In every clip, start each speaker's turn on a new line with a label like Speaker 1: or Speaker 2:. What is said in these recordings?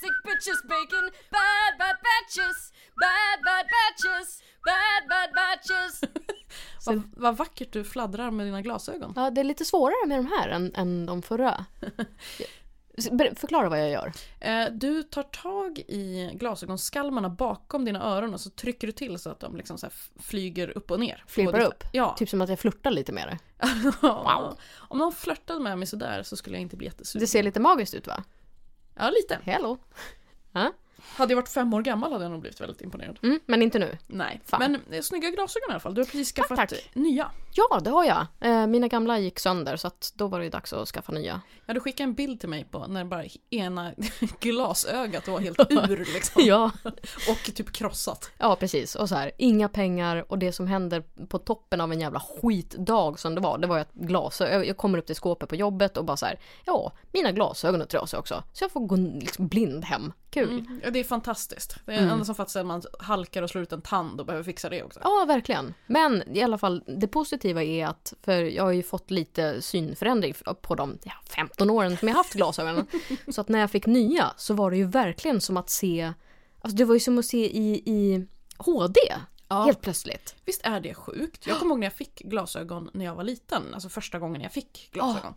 Speaker 1: sandwiches, bacon, bad, bad batches, bad, bad batches, bad, bad batches.
Speaker 2: Vad, vad vackert du fladdrar med dina glasögon.
Speaker 3: Ja, det är lite svårare med de här än, än de förra. Ber- Förklara vad jag gör.
Speaker 2: Eh, du tar tag i glasögonskalmarna bakom dina öron och så trycker du till så att de liksom så här f- flyger upp och ner.
Speaker 3: Flippar
Speaker 2: Och du-
Speaker 3: upp?
Speaker 2: Ja.
Speaker 3: Typ som att jag flörtar lite med det.
Speaker 2: wow. Om någon flörtade med mig sådär så skulle jag inte bli jättesugen.
Speaker 3: Det ser lite magiskt ut va?
Speaker 2: Ja, lite.
Speaker 3: Hello.
Speaker 2: Hade jag varit fem år gammal hade jag nog blivit väldigt imponerad.
Speaker 3: Mm, men inte nu.
Speaker 2: Nej,
Speaker 3: Fan.
Speaker 2: men eh, snygga glasögon i alla fall. Du har precis skaffat
Speaker 3: tack.
Speaker 2: nya.
Speaker 3: Ja, det har jag. Eh, mina gamla gick sönder så att då var det ju dags att skaffa nya.
Speaker 2: Ja, du skickade en bild till mig på när bara ena glasögat var helt ur liksom.
Speaker 3: Ja.
Speaker 2: Och typ krossat.
Speaker 3: Ja, precis. Och så här, inga pengar och det som händer på toppen av en jävla skitdag som det var, det var ju att glasögon, jag- jag kommer upp till skåpet på jobbet och bara så här, ja, mina glasögon är trasiga också. Så jag får gå liksom blind hem. Kul.
Speaker 2: Mm. Ja, det är fantastiskt. Det är det enda som fattas är att man halkar och slår ut en tand och behöver fixa det också.
Speaker 3: Mm. Ja, verkligen. Men i alla fall, det positiva är att, för jag har ju fått lite synförändring på de ja, 15 åren som jag haft glasögonen. så att när jag fick nya så var det ju verkligen som att se, alltså det var ju som att se i, i HD. Helt plötsligt.
Speaker 2: Visst är det sjukt? Jag kommer ihåg när jag fick glasögon när jag var liten. Alltså första gången jag fick glasögon.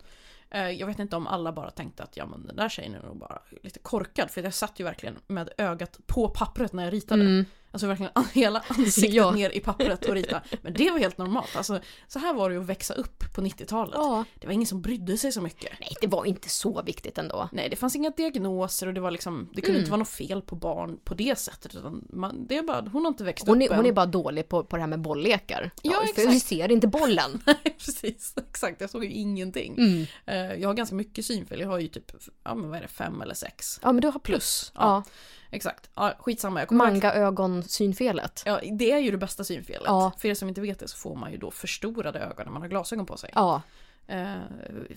Speaker 2: Eh, Jag vet inte om alla bara tänkte att ja men den där tjejen är nog bara lite korkad. För jag satt ju verkligen med ögat på pappret när jag ritade. Alltså verkligen an- hela ansiktet
Speaker 3: Mm. Ja.
Speaker 2: ner i pappret och rita. Men det var helt normalt. Alltså, så här var det ju att växa upp på 90-talet.
Speaker 3: Ja.
Speaker 2: Det var ingen som brydde sig så mycket.
Speaker 3: Nej, det var inte så viktigt ändå.
Speaker 2: Nej, det fanns inga diagnoser och det var liksom, det kunde
Speaker 3: Mm.
Speaker 2: inte vara något fel på barn på det sättet. Utan man, det är bara, hon har inte växt
Speaker 3: Hon
Speaker 2: upp
Speaker 3: är, hon är
Speaker 2: än.
Speaker 3: bara dålig på, på det här med bolllekar.
Speaker 2: Ja,
Speaker 3: för
Speaker 2: exakt.
Speaker 3: vi ser inte bollen.
Speaker 2: Nej, precis. Exakt, jag såg ju ingenting.
Speaker 3: Mm.
Speaker 2: Eh, Jag har ganska mycket synfel, jag har ju typ, ja men vad är det, fem eller sex?
Speaker 3: Ja, men du har plus.
Speaker 2: Plus. Ja,
Speaker 3: Ja,
Speaker 2: exakt. Ja, skitsamma, jag kommer ihåg-
Speaker 3: mangaögonsynfelet.
Speaker 2: Ja, det är ju det bästa synfelet.
Speaker 3: Ja.
Speaker 2: För er som inte vet det så får man ju då förstorade ögon när man har glasögon på sig.
Speaker 3: Ja,
Speaker 2: Eh,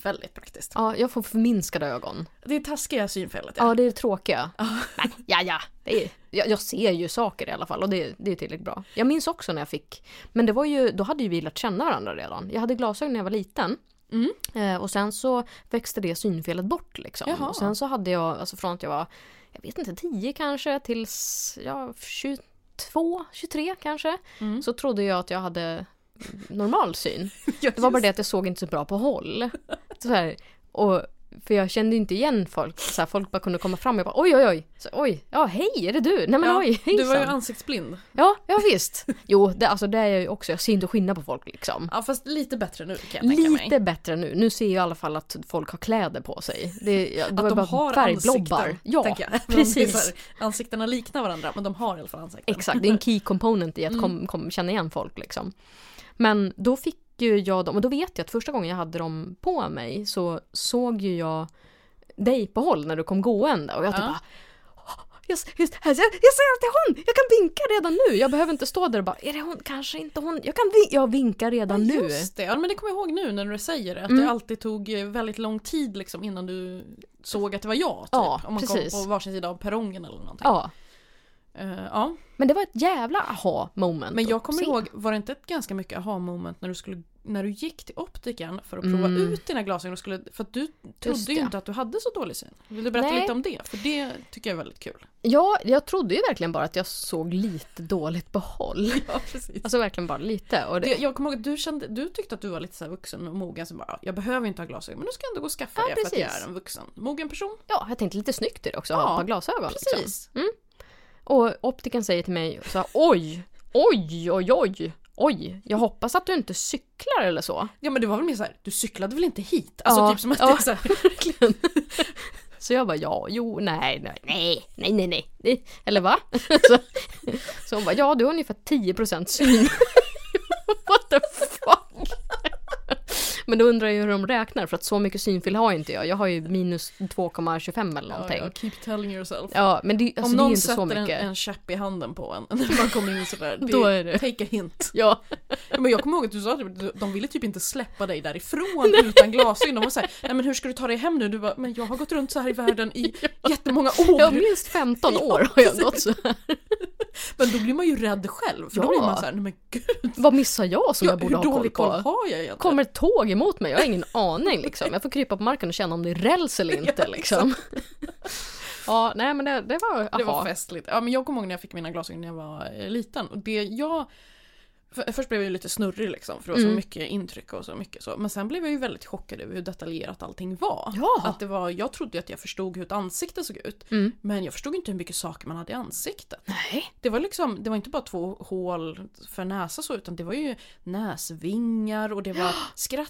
Speaker 2: väldigt praktiskt.
Speaker 3: ja, jag får förminskade ögon.
Speaker 2: Det är taskiga synfelet.
Speaker 3: Ja, det är det tråkiga. Nej, ja, ja. Det är, jag, jag ser ju saker i alla fall och det, det är tillräckligt bra. Jag minns också när jag fick, men det var ju, då hade ju vi lärt känna varandra redan. Jag hade glasögon när jag var liten.
Speaker 2: Mm.
Speaker 3: Eh, och sen så växte det synfelet bort liksom.
Speaker 2: Jaha.
Speaker 3: Och sen så hade jag, alltså från att jag var, jag vet inte, 10 kanske tills, ja, 22, 23 kanske.
Speaker 2: Mm.
Speaker 3: Så trodde jag att jag hade normal syn.
Speaker 2: Ja,
Speaker 3: Det var bara det att jag såg inte så bra på håll. Så här, och, för jag kände ju inte igen folk. Så här, folk bara kunde komma fram och jag bara oj oj oj. Så, oj, ja hej är det du? Nej men
Speaker 2: Ja,
Speaker 3: oj
Speaker 2: Du var ju
Speaker 3: hejsan.
Speaker 2: ansiktsblind.
Speaker 3: Ja, ja visst. Jo, det, alltså det är jag ju också. Jag ser inte skillnad på folk liksom.
Speaker 2: Ja, fast lite bättre nu kan jag tänka mig.
Speaker 3: Lite bättre nu. Nu ser jag i alla fall att folk har kläder på sig. Det, ja, det var
Speaker 2: Att de
Speaker 3: bara
Speaker 2: har
Speaker 3: färgblobbar.
Speaker 2: ansikten.
Speaker 3: ja,
Speaker 2: tänker jag. Men det är så
Speaker 3: precis.
Speaker 2: här, Ansiktena liknar varandra men de har i alla fall ansikten.
Speaker 3: Exakt, det är en key component i att
Speaker 2: Mm.
Speaker 3: kom, kom, känna igen folk liksom. Men då fick ju jag dem, och då vet jag att första gången jag hade dem på mig så såg ju jag dig på håll när du kom gående och jag typ
Speaker 2: Ja.
Speaker 3: bara "Åh, jag, jag, jag, jag ser att det är hon! Jag kan vinka redan nu! Jag behöver inte stå där och bara, är det hon? Kanske inte hon? Jag kan vin- jag vinkar redan nu!
Speaker 2: Just det, ja, men det kommer jag ihåg nu när du säger det. Att det alltid tog eh, väldigt lång tid liksom innan du såg att det var jag. Typ,
Speaker 3: Ja,
Speaker 2: om man
Speaker 3: precis.
Speaker 2: kom på varsin sida av perrongen eller någonting.
Speaker 3: Ja,
Speaker 2: Eh, ja.
Speaker 3: men det var ett jävla aha moment.
Speaker 2: Men jag
Speaker 3: att
Speaker 2: kommer
Speaker 3: se.
Speaker 2: ihåg, var det inte ett ganska mycket aha-moment när du skulle när du gick till optiken för att prova
Speaker 3: Mm.
Speaker 2: ut dina glasögon, och skulle, för att du trodde ju
Speaker 3: det.
Speaker 2: inte att du hade så dålig syn. Vill du berätta
Speaker 3: Nej.
Speaker 2: lite om det? För det tycker jag är väldigt kul.
Speaker 3: Ja, jag trodde ju verkligen bara att jag såg lite dåligt på håll.
Speaker 2: Ja, precis.
Speaker 3: Alltså verkligen bara lite. Och det,
Speaker 2: Det, jag kommer ihåg att du, kände, du tyckte att du var lite så här vuxen och mogen som bara "Ja, jag behöver inte ha glasögon men nu ska jag ändå gå och skaffa
Speaker 3: Ja,
Speaker 2: det för att jag
Speaker 3: precis.
Speaker 2: är en vuxen mogen person.
Speaker 3: Ja, jag tänkte lite snyggt är det också att
Speaker 2: Ja,
Speaker 3: ha ett par glasögon. Liksom.
Speaker 2: Precis.
Speaker 3: Och optiken säger till mig så här, oj, oj, oj, oj, oj, jag hoppas att du inte cyklar eller så.
Speaker 2: Ja men det var väl mer så här, du cyklade väl inte hit? Alltså
Speaker 3: Ja,
Speaker 2: typ som att
Speaker 3: ja.
Speaker 2: det är så här,
Speaker 3: Så jag bara, ja, jo, nej, nej, nej, nej, nej, nej, nej. eller va? Så, så hon bara, ja, du har ungefär 10% syn. What the fuck? Men då undrar jag hur de räknar, för att så mycket synfel har ju inte jag. Jag har ju minus 2,25 eller
Speaker 2: ja,
Speaker 3: någonting. Ja,
Speaker 2: ja, keep telling yourself.
Speaker 3: men det, alltså, det är
Speaker 2: Om
Speaker 3: ju
Speaker 2: någon
Speaker 3: inte så
Speaker 2: sätter
Speaker 3: mycket.
Speaker 2: en, en käpp i handen på en när man kommer in sådär, det,
Speaker 3: Då är det-
Speaker 2: take a hint.
Speaker 3: Ja,
Speaker 2: Ja, men jag kommer ihåg att du sa att de ville typ inte släppa dig därifrån utan glasögon. De var såhär, nej men hur ska du ta dig hem nu? Du bara, men jag har gått runt så här i världen i jättemånga
Speaker 3: jag har
Speaker 2: år.
Speaker 3: minst 15 år har jag
Speaker 2: precis.
Speaker 3: gått så
Speaker 2: Men då blir man ju rädd själv, för då
Speaker 3: Ja.
Speaker 2: blir man såhär, nej men gud.
Speaker 3: Vad missar jag som
Speaker 2: Ja,
Speaker 3: jag borde
Speaker 2: hur
Speaker 3: ha koll
Speaker 2: dålig koll
Speaker 3: på?
Speaker 2: har jag egentligen?
Speaker 3: Kommer ett tåg emot mig? Jag har ingen aning liksom. Jag får krypa på marken och känna om det är räls eller inte liksom. Ja, nej men det, det var, aha.
Speaker 2: Det var festligt. Ja, men jag kommer ihåg när jag fick mina glasögon när jag var eh, liten. Och det jag... för- Först blev jag ju lite snurrig liksom för det var så
Speaker 3: Mm.
Speaker 2: mycket intryck och så mycket så. Men sen blev jag ju väldigt chockad över hur detaljerat allting var.
Speaker 3: Ja.
Speaker 2: Att det var, jag trodde ju att jag förstod hur ett ansikte såg ut.
Speaker 3: Mm.
Speaker 2: Men jag förstod inte hur mycket saker man hade i ansiktet.
Speaker 3: Nej.
Speaker 2: Det var liksom, det var inte bara två hål för näsa så utan det var ju näsvingar och det var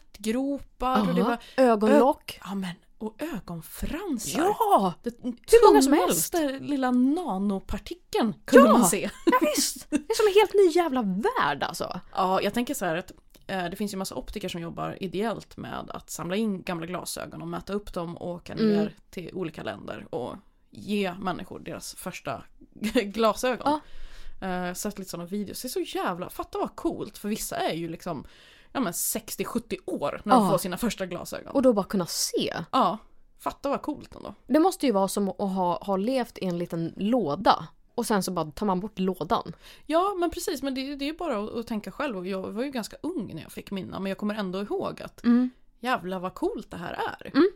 Speaker 2: skrattgropar och det
Speaker 3: Aha.
Speaker 2: var...
Speaker 3: Ögonlock.
Speaker 2: Ja men, och ögonfransar.
Speaker 3: Ja!
Speaker 2: Det
Speaker 3: Hur många som
Speaker 2: tunnaste lilla nanopartikeln kunde
Speaker 3: Ja!
Speaker 2: man se.
Speaker 3: Ja, visst! Det är som en helt ny jävla värld alltså.
Speaker 2: Ja, jag tänker så här att eh, det finns ju massa optiker som jobbar ideellt med att samla in gamla glasögon och mäta upp dem och åka
Speaker 3: Mm.
Speaker 2: ner till olika länder och ge människor deras första glasögon.
Speaker 3: Ja.
Speaker 2: Eh, sett lite sådana videos. Det är så jävla, fatta vad coolt för vissa är ju liksom ja, men 60-70 år när de
Speaker 3: Ja.
Speaker 2: får sina första glasögon.
Speaker 3: Och då bara kunna se.
Speaker 2: Ja, fatta vad coolt ändå.
Speaker 3: Det måste ju vara som att ha, ha levt i en liten låda och sen så bara tar man bort lådan.
Speaker 2: Ja men precis, men det, det är bara att, att tänka själv och jag var ju ganska ung när jag fick mina men jag kommer ändå ihåg att jävla vad coolt det här är.
Speaker 3: Mm.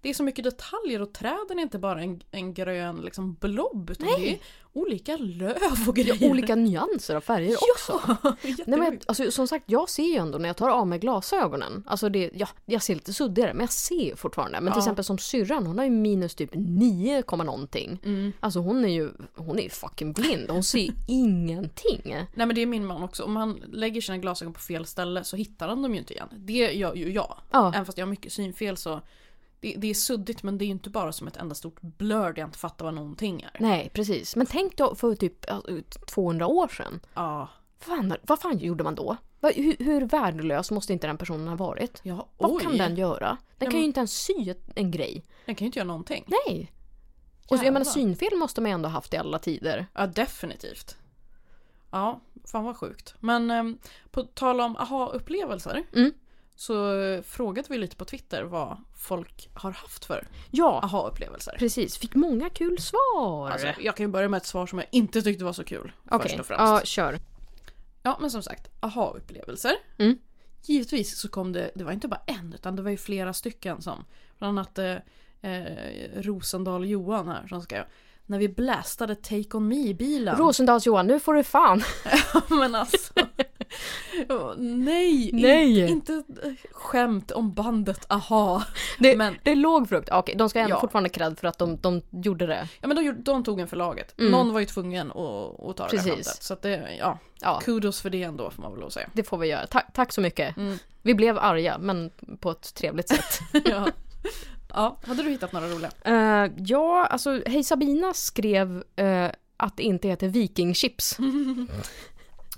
Speaker 2: Det är så mycket detaljer och träden är inte bara en, en grön liksom blob utan det är olika löv och grejer.
Speaker 3: Olika nyanser av färger också. Nej, men jag, alltså, som sagt, jag ser ju ändå när jag tar av mig glasögonen. Alltså det, ja, jag ser lite suddigare men jag ser ju fortfarande. Men till
Speaker 2: Ja.
Speaker 3: exempel som syrran, hon har ju minus typ 9, komma någonting.
Speaker 2: Mm.
Speaker 3: Alltså hon är ju hon är ju fucking blind. Hon ser ju ingenting.
Speaker 2: Nej men det är min man också, om han lägger sina glasögon på fel ställe så hittar han dem ju inte igen. Det gör ju jag.
Speaker 3: Ja.
Speaker 2: Även fast jag har mycket synfel så det, det är suddigt men det är ju inte bara som ett enda stort blur där jag inte fattar vad någonting är.
Speaker 3: Nej, precis. Men tänk då för typ ja, 200 år sedan.
Speaker 2: Ja,
Speaker 3: Fan, vad fan gjorde man då? Vad- Hur, hur värdelös måste inte den personen ha varit?
Speaker 2: ja oj.
Speaker 3: Vad kan den göra? Den kan
Speaker 2: men-
Speaker 3: ju inte ens sy ett- en grej.
Speaker 2: Den kan ju inte göra någonting.
Speaker 3: Nej! Och så, jag menar
Speaker 2: Jävlar.
Speaker 3: synfel måste man ju ändå haft i alla tider.
Speaker 2: Ja, definitivt. Ja, fan vad sjukt. Men eh, på tal om aha-upplevelser
Speaker 3: Mm.
Speaker 2: så eh, frågade vi lite på Twitter vad folk har haft för
Speaker 3: Ja,
Speaker 2: aha-upplevelser.
Speaker 3: precis. Fick många kul svar.
Speaker 2: Alltså, jag kan ju börja med ett svar som jag inte tyckte var så kul.
Speaker 3: Okej,
Speaker 2: Först och främst.
Speaker 3: ja kör.
Speaker 2: Ja, men som sagt, aha-upplevelser.
Speaker 3: Mm.
Speaker 2: Givetvis så kom det, det var inte bara en utan det var ju flera stycken som, bland annat eh, eh, Rosendal-Johan här som ska när vi blästade Take On Me i bilen.
Speaker 3: Rosendals-Johan, nu får du fan.
Speaker 2: Men alltså. Ja, Nej, in-
Speaker 3: Nej.
Speaker 2: Inte, skämt om bandet aha.
Speaker 3: Det,
Speaker 2: Men-
Speaker 3: det är låg frukt. Okej, de ska ändå
Speaker 2: Ja.
Speaker 3: fortfarande cred för att de, de gjorde det.
Speaker 2: Ja men de, gjorde- de tog en för laget.
Speaker 3: Mm.
Speaker 2: Någon var ju tvungen att, att ta det
Speaker 3: Precis.
Speaker 2: där skämtet. Så att det, ja,
Speaker 3: Ja,
Speaker 2: kudos för det ändå får man väl lov att säga.
Speaker 3: det får vi göra. Ta, tack så mycket.
Speaker 2: Mm.
Speaker 3: Vi blev arga, men på ett trevligt sätt.
Speaker 2: ja. ja, hade du hittat några roliga?
Speaker 3: Eh, ja, alltså Hej Sabina skrev eh, att det inte heter vikingchips.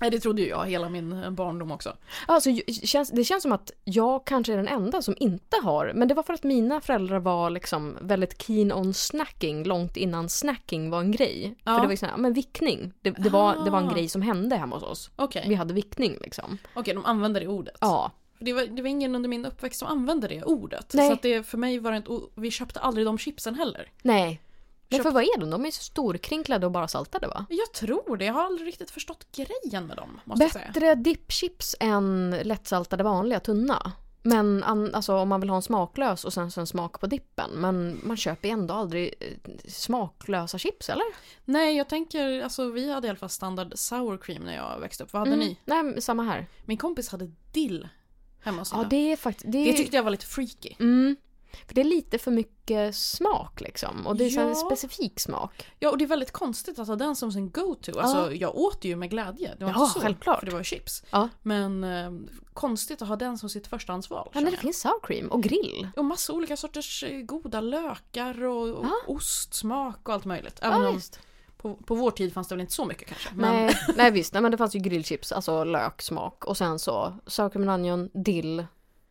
Speaker 2: Nej det trodde ju jag hela min eh, barndom också.
Speaker 3: Alltså, ju- känns, det känns som att jag kanske är den enda som inte har, men det var för att mina föräldrar var liksom väldigt keen on snacking långt innan snacking var en grej.
Speaker 2: Ja.
Speaker 3: För det var ju sån här, ja, men vickning, det, det, var, det var en
Speaker 2: Ah.
Speaker 3: grej som hände hemma hos oss.
Speaker 2: Okej,
Speaker 3: Vi hade vickning liksom.
Speaker 2: Okej, de använder det ordet.
Speaker 3: Ja,
Speaker 2: För Det, var, det var ingen under min uppväxt som använde det ordet.
Speaker 3: Nej.
Speaker 2: Så att det, för mig var det inte, och vi köpte aldrig de chipsen heller.
Speaker 3: nej. Men
Speaker 2: Köpt-
Speaker 3: för vad är de? De är så storkrinklade och bara saltade va?
Speaker 2: Jag tror det, jag har aldrig riktigt förstått grejen med dem. Måste jag säga.
Speaker 3: Bättre dippchips än lättsaltade vanliga tunna. Men an, alltså, om man vill ha en smaklös och sen, sen smak på dippen. Men man köper ju ändå aldrig eh, smaklösa chips eller?
Speaker 2: Nej, jag tänker, alltså vi hade i alla fall standard sour cream när jag växte upp. Vad hade
Speaker 3: Mm.
Speaker 2: ni?
Speaker 3: Nej, men samma här.
Speaker 2: Min kompis hade dill hemma hos
Speaker 3: Ja,
Speaker 2: sina.
Speaker 3: det är faktiskt... Det,
Speaker 2: det tyckte jag var lite freaky.
Speaker 3: mm, för det är lite för mycket smak liksom. Och det är så här
Speaker 2: Ja.
Speaker 3: specifik smak.
Speaker 2: Ja, och det är väldigt konstigt att ha den som sin go-to. Alltså, jag åt det ju med glädje. Det var
Speaker 3: Ja,
Speaker 2: inte så,
Speaker 3: självklart.
Speaker 2: För det var ju chips.
Speaker 3: Ja.
Speaker 2: Men eh, konstigt att ha den som sitt förstahandsval.
Speaker 3: Ja,
Speaker 2: känner
Speaker 3: men det
Speaker 2: jag.
Speaker 3: finns sour cream och grill.
Speaker 2: och massa olika sorters eh, goda lökar och, och ostsmak och allt möjligt. Även
Speaker 3: Ja,
Speaker 2: om
Speaker 3: visst.
Speaker 2: på, på vår tid fanns det väl inte så mycket kanske. Men,
Speaker 3: Nej, nej visst, nej, men det fanns ju grillchips, alltså löksmak. Och sen så sour cream and onion, dill.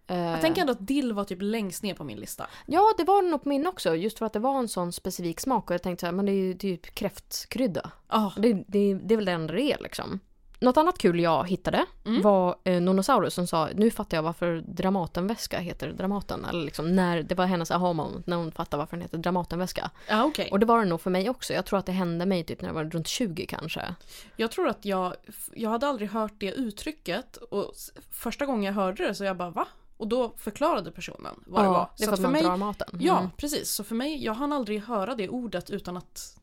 Speaker 3: Eh,
Speaker 2: Jag tänker ändå att dill var typ längst ner på min lista.
Speaker 3: Ja, det var det nog på min också. Just för att det var en sån specifik smak. Och jag tänkte så här, men det är ju det är ju kräftkrydda.
Speaker 2: Ja,
Speaker 3: Det, det, det är väl den det är liksom. Något annat kul jag hittade
Speaker 2: Mm.
Speaker 3: var eh, Nonosaurus som sa nu fattar jag varför Dramatenväska heter Dramaten. Eller liksom när, det var hennes aha moment när hon fattade varför den heter Dramatenväska.
Speaker 2: ja okej.
Speaker 3: Och det var det nog för mig också. Jag tror att det hände mig typ när jag var runt 20 kanske.
Speaker 2: Jag tror att jag, jag hade aldrig hört det uttrycket och s- första gången jag hörde det så jag bara va? Och då förklarade personen vad det var.
Speaker 3: det är
Speaker 2: Så
Speaker 3: för
Speaker 2: att
Speaker 3: att
Speaker 2: för
Speaker 3: man
Speaker 2: mig,
Speaker 3: drar maten. Mm.
Speaker 2: ja precis, så för mig, jag hann aldrig höra det ordet utan att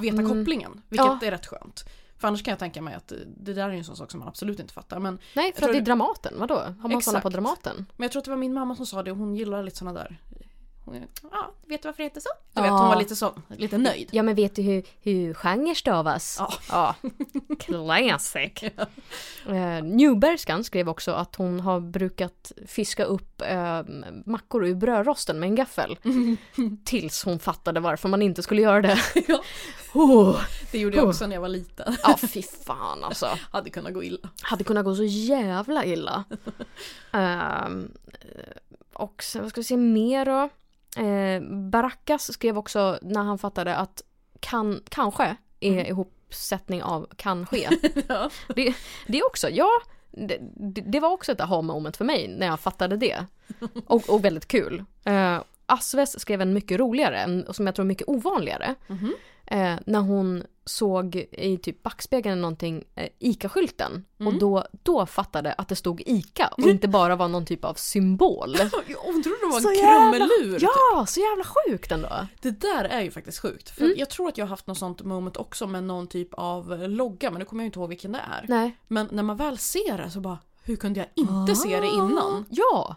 Speaker 2: veta
Speaker 3: Mm.
Speaker 2: kopplingen. Vilket
Speaker 3: Ja.
Speaker 2: är rätt skönt. För annars kan jag tänka mig att det- det där är ju en sån sak som man absolut inte fattar. Men,
Speaker 3: Nej, för
Speaker 2: tror
Speaker 3: att det är
Speaker 2: det-
Speaker 3: Dramaten, vadå? Har man sådana på
Speaker 2: Exakt.
Speaker 3: Dramaten?
Speaker 2: men jag tror att det var min mamma som sa det och hon gillar lite såna där hon är, ah, vet du varför det heter så? Du vet,
Speaker 3: Ja.
Speaker 2: hon var lite, så, lite nöjd.
Speaker 3: Ja men vet du hur, hur genre stavas?
Speaker 2: Ja.
Speaker 3: ja. Classic. Eh, Newbergskan skrev också att hon har brukat fiska upp eh, mackor ur brödrosten med en gaffel. Tills hon fattade varför man inte skulle göra det.
Speaker 2: Ja.
Speaker 3: oh.
Speaker 2: Det gjorde jag också när jag var liten.
Speaker 3: Ja fy fan alltså.
Speaker 2: Hade kunnat gå illa.
Speaker 3: Hade kunnat gå så jävla illa. Ehm, och sen, vad ska vi se mer då? Eh, Barackas skrev också när han fattade att kan, kanske är
Speaker 2: Mm.
Speaker 3: ihopsättning av kan ske.
Speaker 2: Ja.
Speaker 3: det, det också, ja. Det, det det var också ett aha moment för mig när jag fattade det. Och, och väldigt kul. Eh, Asves skrev en mycket roligare, en- och som jag tror mycket ovanligare.
Speaker 2: Mhm.
Speaker 3: Eh, när hon såg i typ backspegeln eller någonting eh, ICA-skylten.
Speaker 2: Mm.
Speaker 3: Och då, då fattade att det stod ICA och inte bara var någon typ av symbol.
Speaker 2: Hon trodde det var en
Speaker 3: Så jävla-
Speaker 2: krumelur.
Speaker 3: ja, så jävla sjukt ändå.
Speaker 2: Det där är ju faktiskt sjukt. För
Speaker 3: Mm.
Speaker 2: Jag tror att jag har haft något sånt moment också med någon typ av logga men nu kommer jag inte ihåg vilken det är.
Speaker 3: Nej.
Speaker 2: Men när man väl ser det så bara hur kunde jag inte se det
Speaker 3: Ah.
Speaker 2: innan?
Speaker 3: Ja.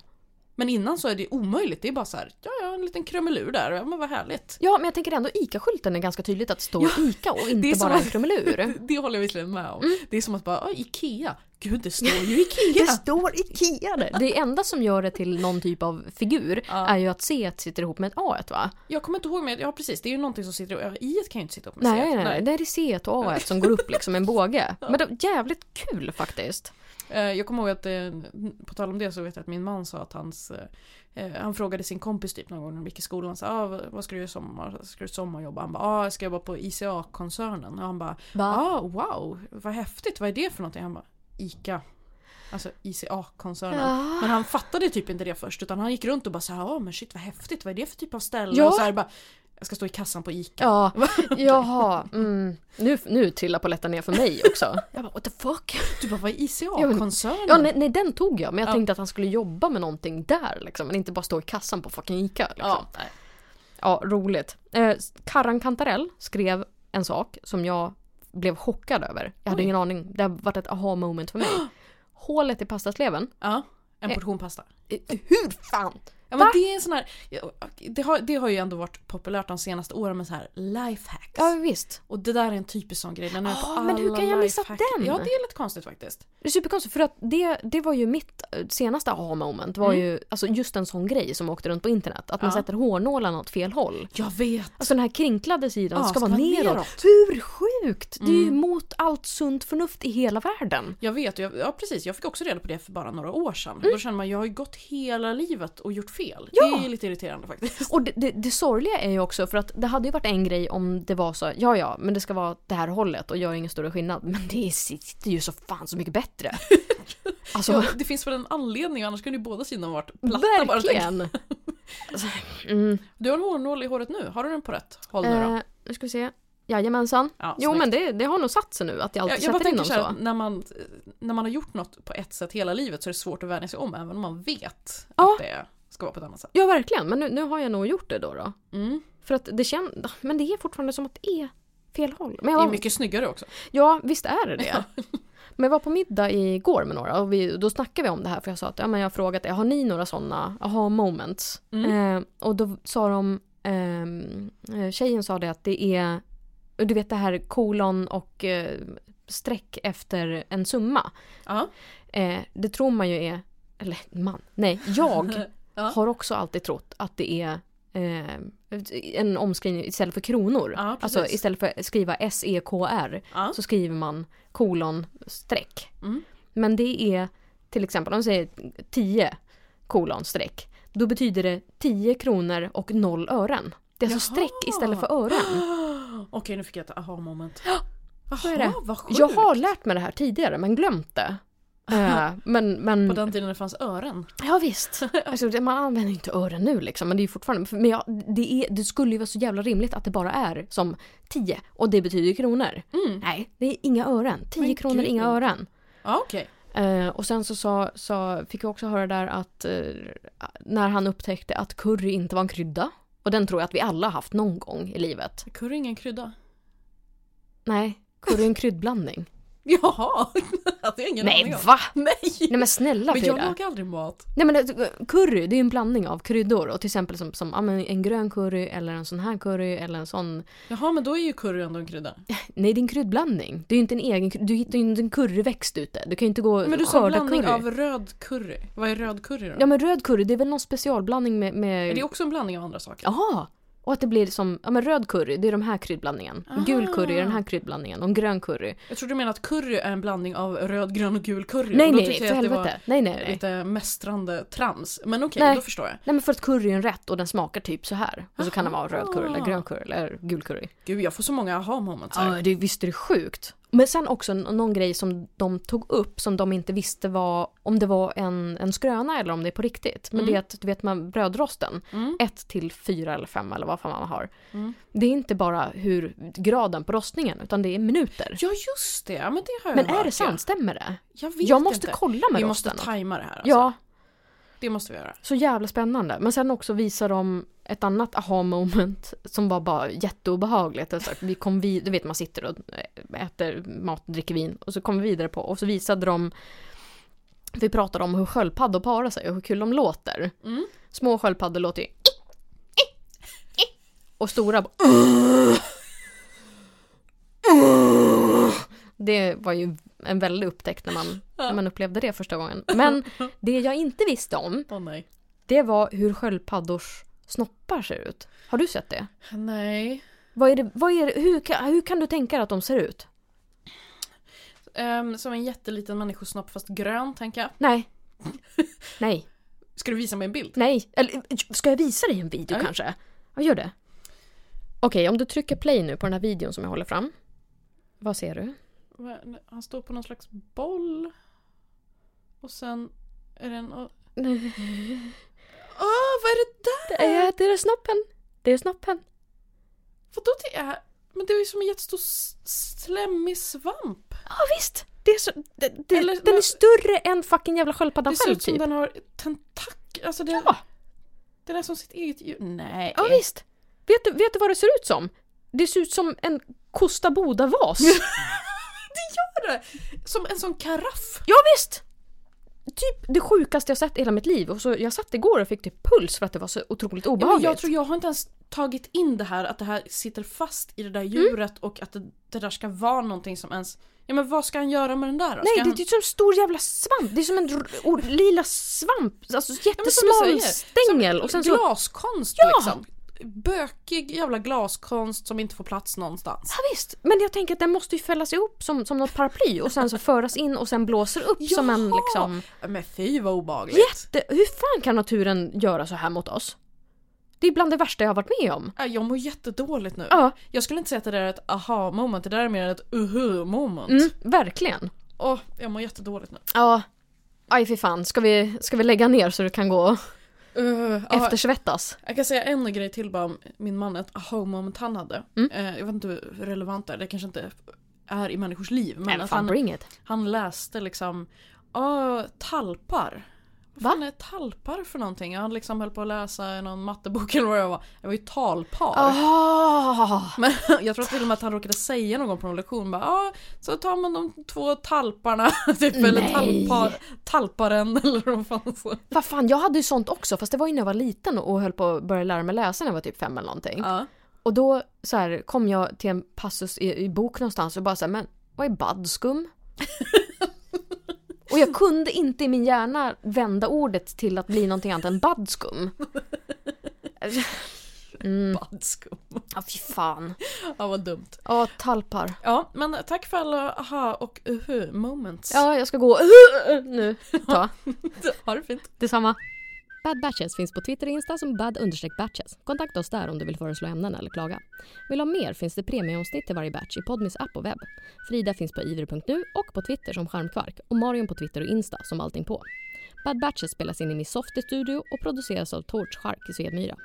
Speaker 2: Men innan så är det omöjligt. Det är bara så här, ja, ja en liten krumelur där, ja men vad härligt.
Speaker 3: ja, men jag tänker ändå ICA-skylten är ganska tydligt att det står ICA och
Speaker 2: är
Speaker 3: inte
Speaker 2: som
Speaker 3: bara en
Speaker 2: att-
Speaker 3: krumelur. Mm.
Speaker 2: Det, det håller jag visserligen med om. Det är som att bara, "Ah, Ikea, gud det står ju Ikea!
Speaker 3: Det står IKEA där. Det enda som gör det till någon typ av figur
Speaker 2: Ja.
Speaker 3: är ju att C sitter ihop med ett A va? jag
Speaker 2: Jag kommer inte ihåg men ja precis det är ju någonting som sitter ja, i ett kan ju inte sitta upp med
Speaker 3: Nej,
Speaker 2: sig.
Speaker 3: nej, nej. Det är C och A som går upp liksom en båge. Men det var jävligt kul faktiskt.
Speaker 2: Eh, Jag kommer ihåg att, eh, på tal om det så vet jag att min man sa att hans, eh, eh, han frågade sin kompis typ någon gång när de gick i skolan, han sa, ah, vad- vad ska du göra i sommar? Ska du sommarjobba? Han bara, ah, jag ska jobba på ICA-koncernen. Och han bara,
Speaker 3: Va?
Speaker 2: ah, wow, vad häftigt, vad är det för någonting? Han bara, ICA. Alltså ICA-koncernen.
Speaker 3: Ah.
Speaker 2: Men han fattade typ inte det först utan han gick runt och bara såhär, ah, men shit vad häftigt, vad är det för typ av ställe?
Speaker 3: Ja.
Speaker 2: Och så här, bara, jag ska stå i kassan på ICA.
Speaker 3: Ja, jaha. Mm. Nu, nu trillar polletten ner för mig också. Jag bara what the fuck?
Speaker 2: Du bara, vad är
Speaker 3: Ja, men-
Speaker 2: ICA-koncernen?
Speaker 3: Ja, nej, nej den tog jag men jag
Speaker 2: Ja.
Speaker 3: tänkte att han skulle jobba med någonting där liksom. Men inte bara stå i kassan på fucking ICA. Liksom.
Speaker 2: Ja, nej.
Speaker 3: Ja, roligt. Eh, Karran Kantarell skrev en sak som jag blev chockad över. Jag hade
Speaker 2: Oj.
Speaker 3: ingen aning. Det har varit ett aha moment för mig. Hålet i pastasleven.
Speaker 2: ja en portion pasta.
Speaker 3: Eh, Hur fan?
Speaker 2: Ja,
Speaker 3: Va?
Speaker 2: men det är en sån här, ja, det har, det har ju ändå varit populärt de senaste åren med så här lifehacks.
Speaker 3: Ja visst.
Speaker 2: Och det där är en typisk sån grej. Den är på
Speaker 3: Ah, men hur
Speaker 2: alla
Speaker 3: kan jag missa
Speaker 2: lifehack-
Speaker 3: den?
Speaker 2: Ja, det är lite konstigt faktiskt.
Speaker 3: Det är superkonstigt för att det, det var ju mitt eh, senaste aha moment var ju alltså just en sån grej som åkte runt på internet. Att man
Speaker 2: Mm. Ja.
Speaker 3: sätter hårnålarna åt fel håll.
Speaker 2: Jag vet!
Speaker 3: Alltså den här krinklade sidan
Speaker 2: Ja, Mm.
Speaker 3: ska, vara neråt. Hur sjukt? Det är ju mot allt sunt förnuft i hela världen.
Speaker 2: Jag vet, och jag, ja precis. Jag fick också reda på det för bara några år sedan. Då känner man, jag har ju gått hela livet och gjort fel.
Speaker 3: Mm. Ja.
Speaker 2: Det är lite irriterande faktiskt.
Speaker 3: Och det, det, det sorgliga är ju också för att det hade ju varit en grej om det var så ja ja men det ska vara det här hållet och gör ingen större skillnad. Men det sitter ju så fan så mycket bättre. Alltså
Speaker 2: Ja, det finns väl en anledning, annars kunde ju båda sidorna varit platta bara. tänk.
Speaker 3: verkligen. Alltså, mm.
Speaker 2: Du har en hårnål i håret nu, har du den på rätt håll nu då?
Speaker 3: Eh, nu ska vi se. Jajamensan.
Speaker 2: Ja,
Speaker 3: Jo
Speaker 2: snyggt.
Speaker 3: men det, det har nog satt sig nu att jag
Speaker 2: Jag,
Speaker 3: alltid
Speaker 2: jag bara
Speaker 3: sätter in
Speaker 2: tänker
Speaker 3: dem
Speaker 2: så här,
Speaker 3: så.
Speaker 2: att när man, när man har gjort något på ett sätt hela livet så är det svårt att vänja sig om även om man vet
Speaker 3: Ja.
Speaker 2: att det ska vara på ett annat sätt.
Speaker 3: Ja verkligen men nu, nu har jag nog gjort det då. då.
Speaker 2: Mm.
Speaker 3: För att det känns, men det är fortfarande som att det är fel håll. Men
Speaker 2: Det
Speaker 3: jag
Speaker 2: är
Speaker 3: var,
Speaker 2: mycket snyggare också.
Speaker 3: Ja, visst är det det. Men jag var på middag igår med några och vi, då snackade vi om det här för jag sa att ja, men jag har frågat er, har ni några sådana aha moments?
Speaker 2: Mm.
Speaker 3: Eh, och då sa de, ehm, eh, tjejen sa det att det är, och du vet det här kolon och eh, streck efter en summa.
Speaker 2: Ja.
Speaker 3: Eh, det tror man ju är, eller man, nej, jag
Speaker 2: Ja.
Speaker 3: har också alltid trott att det är eh, en omskrivning istället för kronor.
Speaker 2: Ja, precis.
Speaker 3: alltså istället för att skriva S-E-K-R
Speaker 2: Ja.
Speaker 3: så skriver man kolon streck.
Speaker 2: Mm.
Speaker 3: Men det är till exempel om vi säger 10 kolon streck. Då betyder det 10 kronor och 0 ören. Det är alltså
Speaker 2: Jaha.
Speaker 3: streck istället för ören.
Speaker 2: Okej, nu fick jag ett aha-moment.
Speaker 3: Så är det.
Speaker 2: Jaha, vad sjukt!
Speaker 3: Jag har lärt mig det här tidigare men glömt det. Eh, men, men...
Speaker 2: På den tiden det fanns ören.
Speaker 3: Ja visst. Alltså, det- man använder ju inte ören nu liksom. Men det är ju fortfarande... för- Men ja, det, är, det skulle ju vara så jävla rimligt att det bara är som 10 och det betyder ju kronor.
Speaker 2: Mm.
Speaker 3: Nej, det är inga ören. 10
Speaker 2: Men
Speaker 3: kronor,
Speaker 2: gud.
Speaker 3: inga ören.
Speaker 2: Ja, okej.
Speaker 3: Eh, och sen så, sa, sa, fick jag också höra där att eh, när han upptäckte att curry inte var en krydda. Och den tror jag att vi alla haft någon gång i livet.
Speaker 2: Curry är ingen krydda.
Speaker 3: Nej, curry är en kryddblandning.
Speaker 2: Jaha! Att det är ingen aning
Speaker 3: Nej
Speaker 2: om.
Speaker 3: va?
Speaker 2: Nej!
Speaker 3: Nej men snälla
Speaker 2: Men jag
Speaker 3: Frida.
Speaker 2: lagar aldrig mat.
Speaker 3: Nej men eh, curry det är ju en blandning av kryddor. Och till exempel som, som ja, men en grön curry eller en sån här curry eller en sån.
Speaker 2: Jaha, men då är ju curry ändå en krydda.
Speaker 3: Nej det är en kryddblandning. Det är ju inte en egen kry- du, det är ju inte en curryväxt ute. Du kan ju inte gå och
Speaker 2: Men du sa
Speaker 3: skörda
Speaker 2: blandning
Speaker 3: curry.
Speaker 2: av röd curry. Vad är röd curry då?
Speaker 3: Ja men röd curry det är väl någon specialblandning med... med...
Speaker 2: Är det också en blandning av andra saker?
Speaker 3: Jaha! Och att det blir som, ja men röd curry, det är de här kryddblandningen. Och Gul
Speaker 2: Ah.
Speaker 3: curry är den här kryddblandningen. Och en grön curry.
Speaker 2: Jag trodde du menade att curry är en blandning av röd, grön och gul curry.
Speaker 3: nej
Speaker 2: Och då
Speaker 3: nej nej,
Speaker 2: tyckte
Speaker 3: för
Speaker 2: jag att det
Speaker 3: helvete.
Speaker 2: var
Speaker 3: Nej nej nej.
Speaker 2: lite mästrande trams. Men okej,
Speaker 3: Nej.
Speaker 2: då förstår jag.
Speaker 3: Nej men för att curry är en rätt och den smakar typ så här. Och så kan det vara röd curry eller
Speaker 2: Aha.
Speaker 3: grön curry eller gul curry.
Speaker 2: Gud, jag får så många aha moments här.
Speaker 3: Ja, det, visst är det sjukt. Men sen också n- någon grej som de tog upp som de inte visste var om det var en, en skröna eller om det är på riktigt. Men det är att, du vet man brödrosten,
Speaker 2: Mm.
Speaker 3: ett till fyra eller fem eller vad fan man har.
Speaker 2: Mm.
Speaker 3: Det är inte bara hur graden på rostningen utan det är minuter.
Speaker 2: Ja, just det. Ja, men det har jag
Speaker 3: Men
Speaker 2: hört,
Speaker 3: är det
Speaker 2: ja.
Speaker 3: sant? Stämmer det?
Speaker 2: Jag vet
Speaker 3: Jag måste
Speaker 2: inte.
Speaker 3: kolla med
Speaker 2: Vi måste
Speaker 3: rosten.
Speaker 2: tajma det här. Alltså.
Speaker 3: Ja,
Speaker 2: Det måste vi göra.
Speaker 3: så jävla spännande. Men sen också visar de ett annat aha moment som var bara jätteobehagligt. Alltså, vi kom vid, du vet man sitter och eh, äter mat, dricker vin och så kommer vi vidare på och så visade de vi pratade om hur sköldpaddor parar sig och hur kul de låter.
Speaker 2: Mm.
Speaker 3: Små sköldpaddor låter ju och stora bara Det var ju en väldig upptäckt när man, när man upplevde det första gången. Men det jag inte visste om
Speaker 2: Åh nej.
Speaker 3: det var hur sköldpaddors snoppar ser ut. Har du sett det?
Speaker 2: Nej.
Speaker 3: Vad är det, vad är det hur, kan, hur kan du tänka dig att de ser ut?
Speaker 2: Ehm, som en jätteliten människosnopp fast grön, tänker jag.
Speaker 3: Nej. Nej.
Speaker 2: Ska du visa mig en bild?
Speaker 3: Nej. Eller ska jag visa dig en video
Speaker 2: Nej.
Speaker 3: kanske? Ja, gör det. Okej, om du trycker play nu på den här videon som jag håller fram. Vad ser du?
Speaker 2: Va- Han står på någon slags boll. Och sen är det en... Åh, vad är det där?
Speaker 3: Det är, det är snoppen. Det är snoppen.
Speaker 2: Vadå det är? Men det är ju som en jättestor s- slemmig svamp.
Speaker 3: Ja, visst. Det är så, det, det,
Speaker 2: Eller-
Speaker 3: den är större än fucking jävla sköldpaddan
Speaker 2: det ser
Speaker 3: själv
Speaker 2: ut som
Speaker 3: typ.
Speaker 2: den har tentak... Alltså det,
Speaker 3: Ja.
Speaker 2: den är som sitt eget djur. Nej.
Speaker 3: Ja visst! Vet du, vet du vad det ser ut som? Det ser ut som en Kosta Boda-vas.
Speaker 2: Som en sån karaff.
Speaker 3: ja visst! Typ det sjukaste jag sett i hela mitt liv. Och så jag satt igår och fick typ puls för att det var så otroligt
Speaker 2: Ja, men
Speaker 3: obehagligt.
Speaker 2: jag tror jag har inte ens tagit in det här att det här sitter fast i det
Speaker 3: Mm.
Speaker 2: där djuret och att det, det där ska vara någonting som ens... Ja men vad ska han göra med den där då? Ska
Speaker 3: Nej,
Speaker 2: han...
Speaker 3: det, det är typ- som en stor jävla svamp. Det är som en r- or- lila svamp. Alltså jättesmal
Speaker 2: säger,
Speaker 3: stängel. Och sen så... Ja,
Speaker 2: Glaskonst
Speaker 3: Ja!
Speaker 2: liksom. Bökig jävla glaskonst som inte får plats någonstans.
Speaker 3: visst. Men jag tänker att den måste ju fällas ihop som, som något paraply och sen så föras in och sen blåser upp som en
Speaker 2: Jaha!
Speaker 3: liksom...
Speaker 2: Men fy vad obehagligt.
Speaker 3: Jätte... Hur fan kan naturen göra så här mot oss? Det är bland det värsta jag har varit med om.
Speaker 2: Äh, Jag mår jättedåligt nu.
Speaker 3: Ja,
Speaker 2: Jag skulle inte säga att det där är ett aha-moment, det där är mer ett uhu-moment.
Speaker 3: mm, verkligen.
Speaker 2: Åh, jag mår jättedåligt nu.
Speaker 3: Ja. Aj fy fan, ska vi, ska vi lägga ner så du kan gå och
Speaker 2: Uh,
Speaker 3: eftersvettas?
Speaker 2: Jag kan säga en grej till bara om min man, ett aha-moment han hade.
Speaker 3: Mm.
Speaker 2: Eh, jag vet inte hur relevant det är, det kanske inte är i människors liv. Men
Speaker 3: Men
Speaker 2: att
Speaker 3: fan
Speaker 2: han,
Speaker 3: bring it.
Speaker 2: han läste liksom, ja, talpar.
Speaker 3: Va?
Speaker 2: Vad fan är talpar för någonting? Han liksom höll på att läsa i någon mattebok eller vad det var. Det var ju talpar.
Speaker 3: Oh.
Speaker 2: Men jag tror till och med att han råkade säga någon gång på någon lektion bara ah, så tar man de två talparna typ, eller
Speaker 3: Nej. Mm.
Speaker 2: talpar, talparen eller vad fan så.
Speaker 3: Vad fan, jag hade ju sånt också fast det var ju när jag var liten och höll på att börja lära mig läsa när jag var typ fem eller någonting.
Speaker 2: Ja.
Speaker 3: Och då så här, kom jag till en passus i, i bok någonstans och bara såhär, men vad är baddskum? och jag kunde inte i min hjärna vända ordet till att bli någonting annat än baddskum. Mm,
Speaker 2: Badskum.
Speaker 3: ja fy fan.
Speaker 2: Ja vad dumt.
Speaker 3: Ja, talpar.
Speaker 2: Ja men tack för alla aha och uhu moments.
Speaker 3: Ja, jag ska gå nu. Ta.
Speaker 2: Ha det fint.
Speaker 3: Detsamma. Bad Batches finns på Twitter och Insta som bad-batches. Kontakta oss där om du vill föreslå ämnen eller klaga. Vill du ha mer finns det premieomsnitt i varje batch i Podmis app och webb. Frida finns på ivr.nu och på Twitter som Charmkvark och Marion på Twitter och Insta som allting på. Bad Batches spelas in i Miss Softy Studio och produceras av Torch Shark i Svedmyra.